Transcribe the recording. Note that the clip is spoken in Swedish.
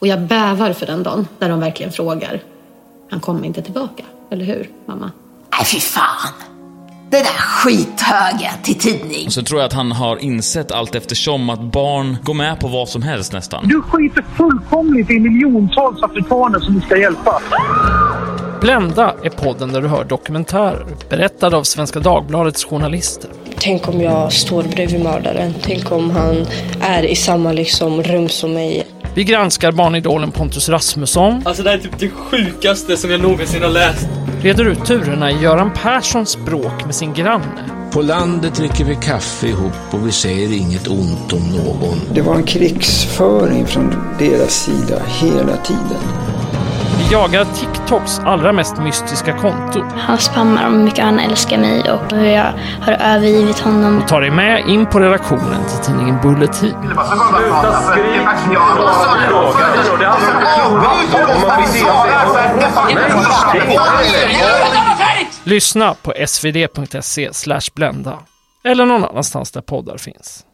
Och jag bävar för den dagen när de verkligen frågar. Han kommer inte tillbaka, eller hur mamma? Nej, fy fan. Det där skithöga till tidning. Och så tror jag att han har insett allt eftersom att barn går med på vad som helst nästan. Du skiter fullkomligt i miljontals afrikaner som du ska hjälpa. Blända är podden där du hör dokumentärer berättade av Svenska Dagbladets journalister. Tänk om jag står bredvid mördaren. Tänk om han är i samma liksom, rum som mig. Vi granskar barnidolen Pontus Rasmusson, Alltså det här är typ det sjukaste som jag någonsin har läst. reder ut turerna i Göran Perssons bråk med sin granne. På landet dricker vi kaffe ihop och vi säger inget ont om någon. Det var en krigsföring från deras sida hela tiden. Vi jagar TikToks allra mest mystiska konto Han spammar om hur mycket han älskar mig och hur jag har övergivit honom. och tar dig med in på redaktionen till tidningen Bulletin. Sluta skrik! Lyssna på svd.se blända eller någon annanstans där poddar finns.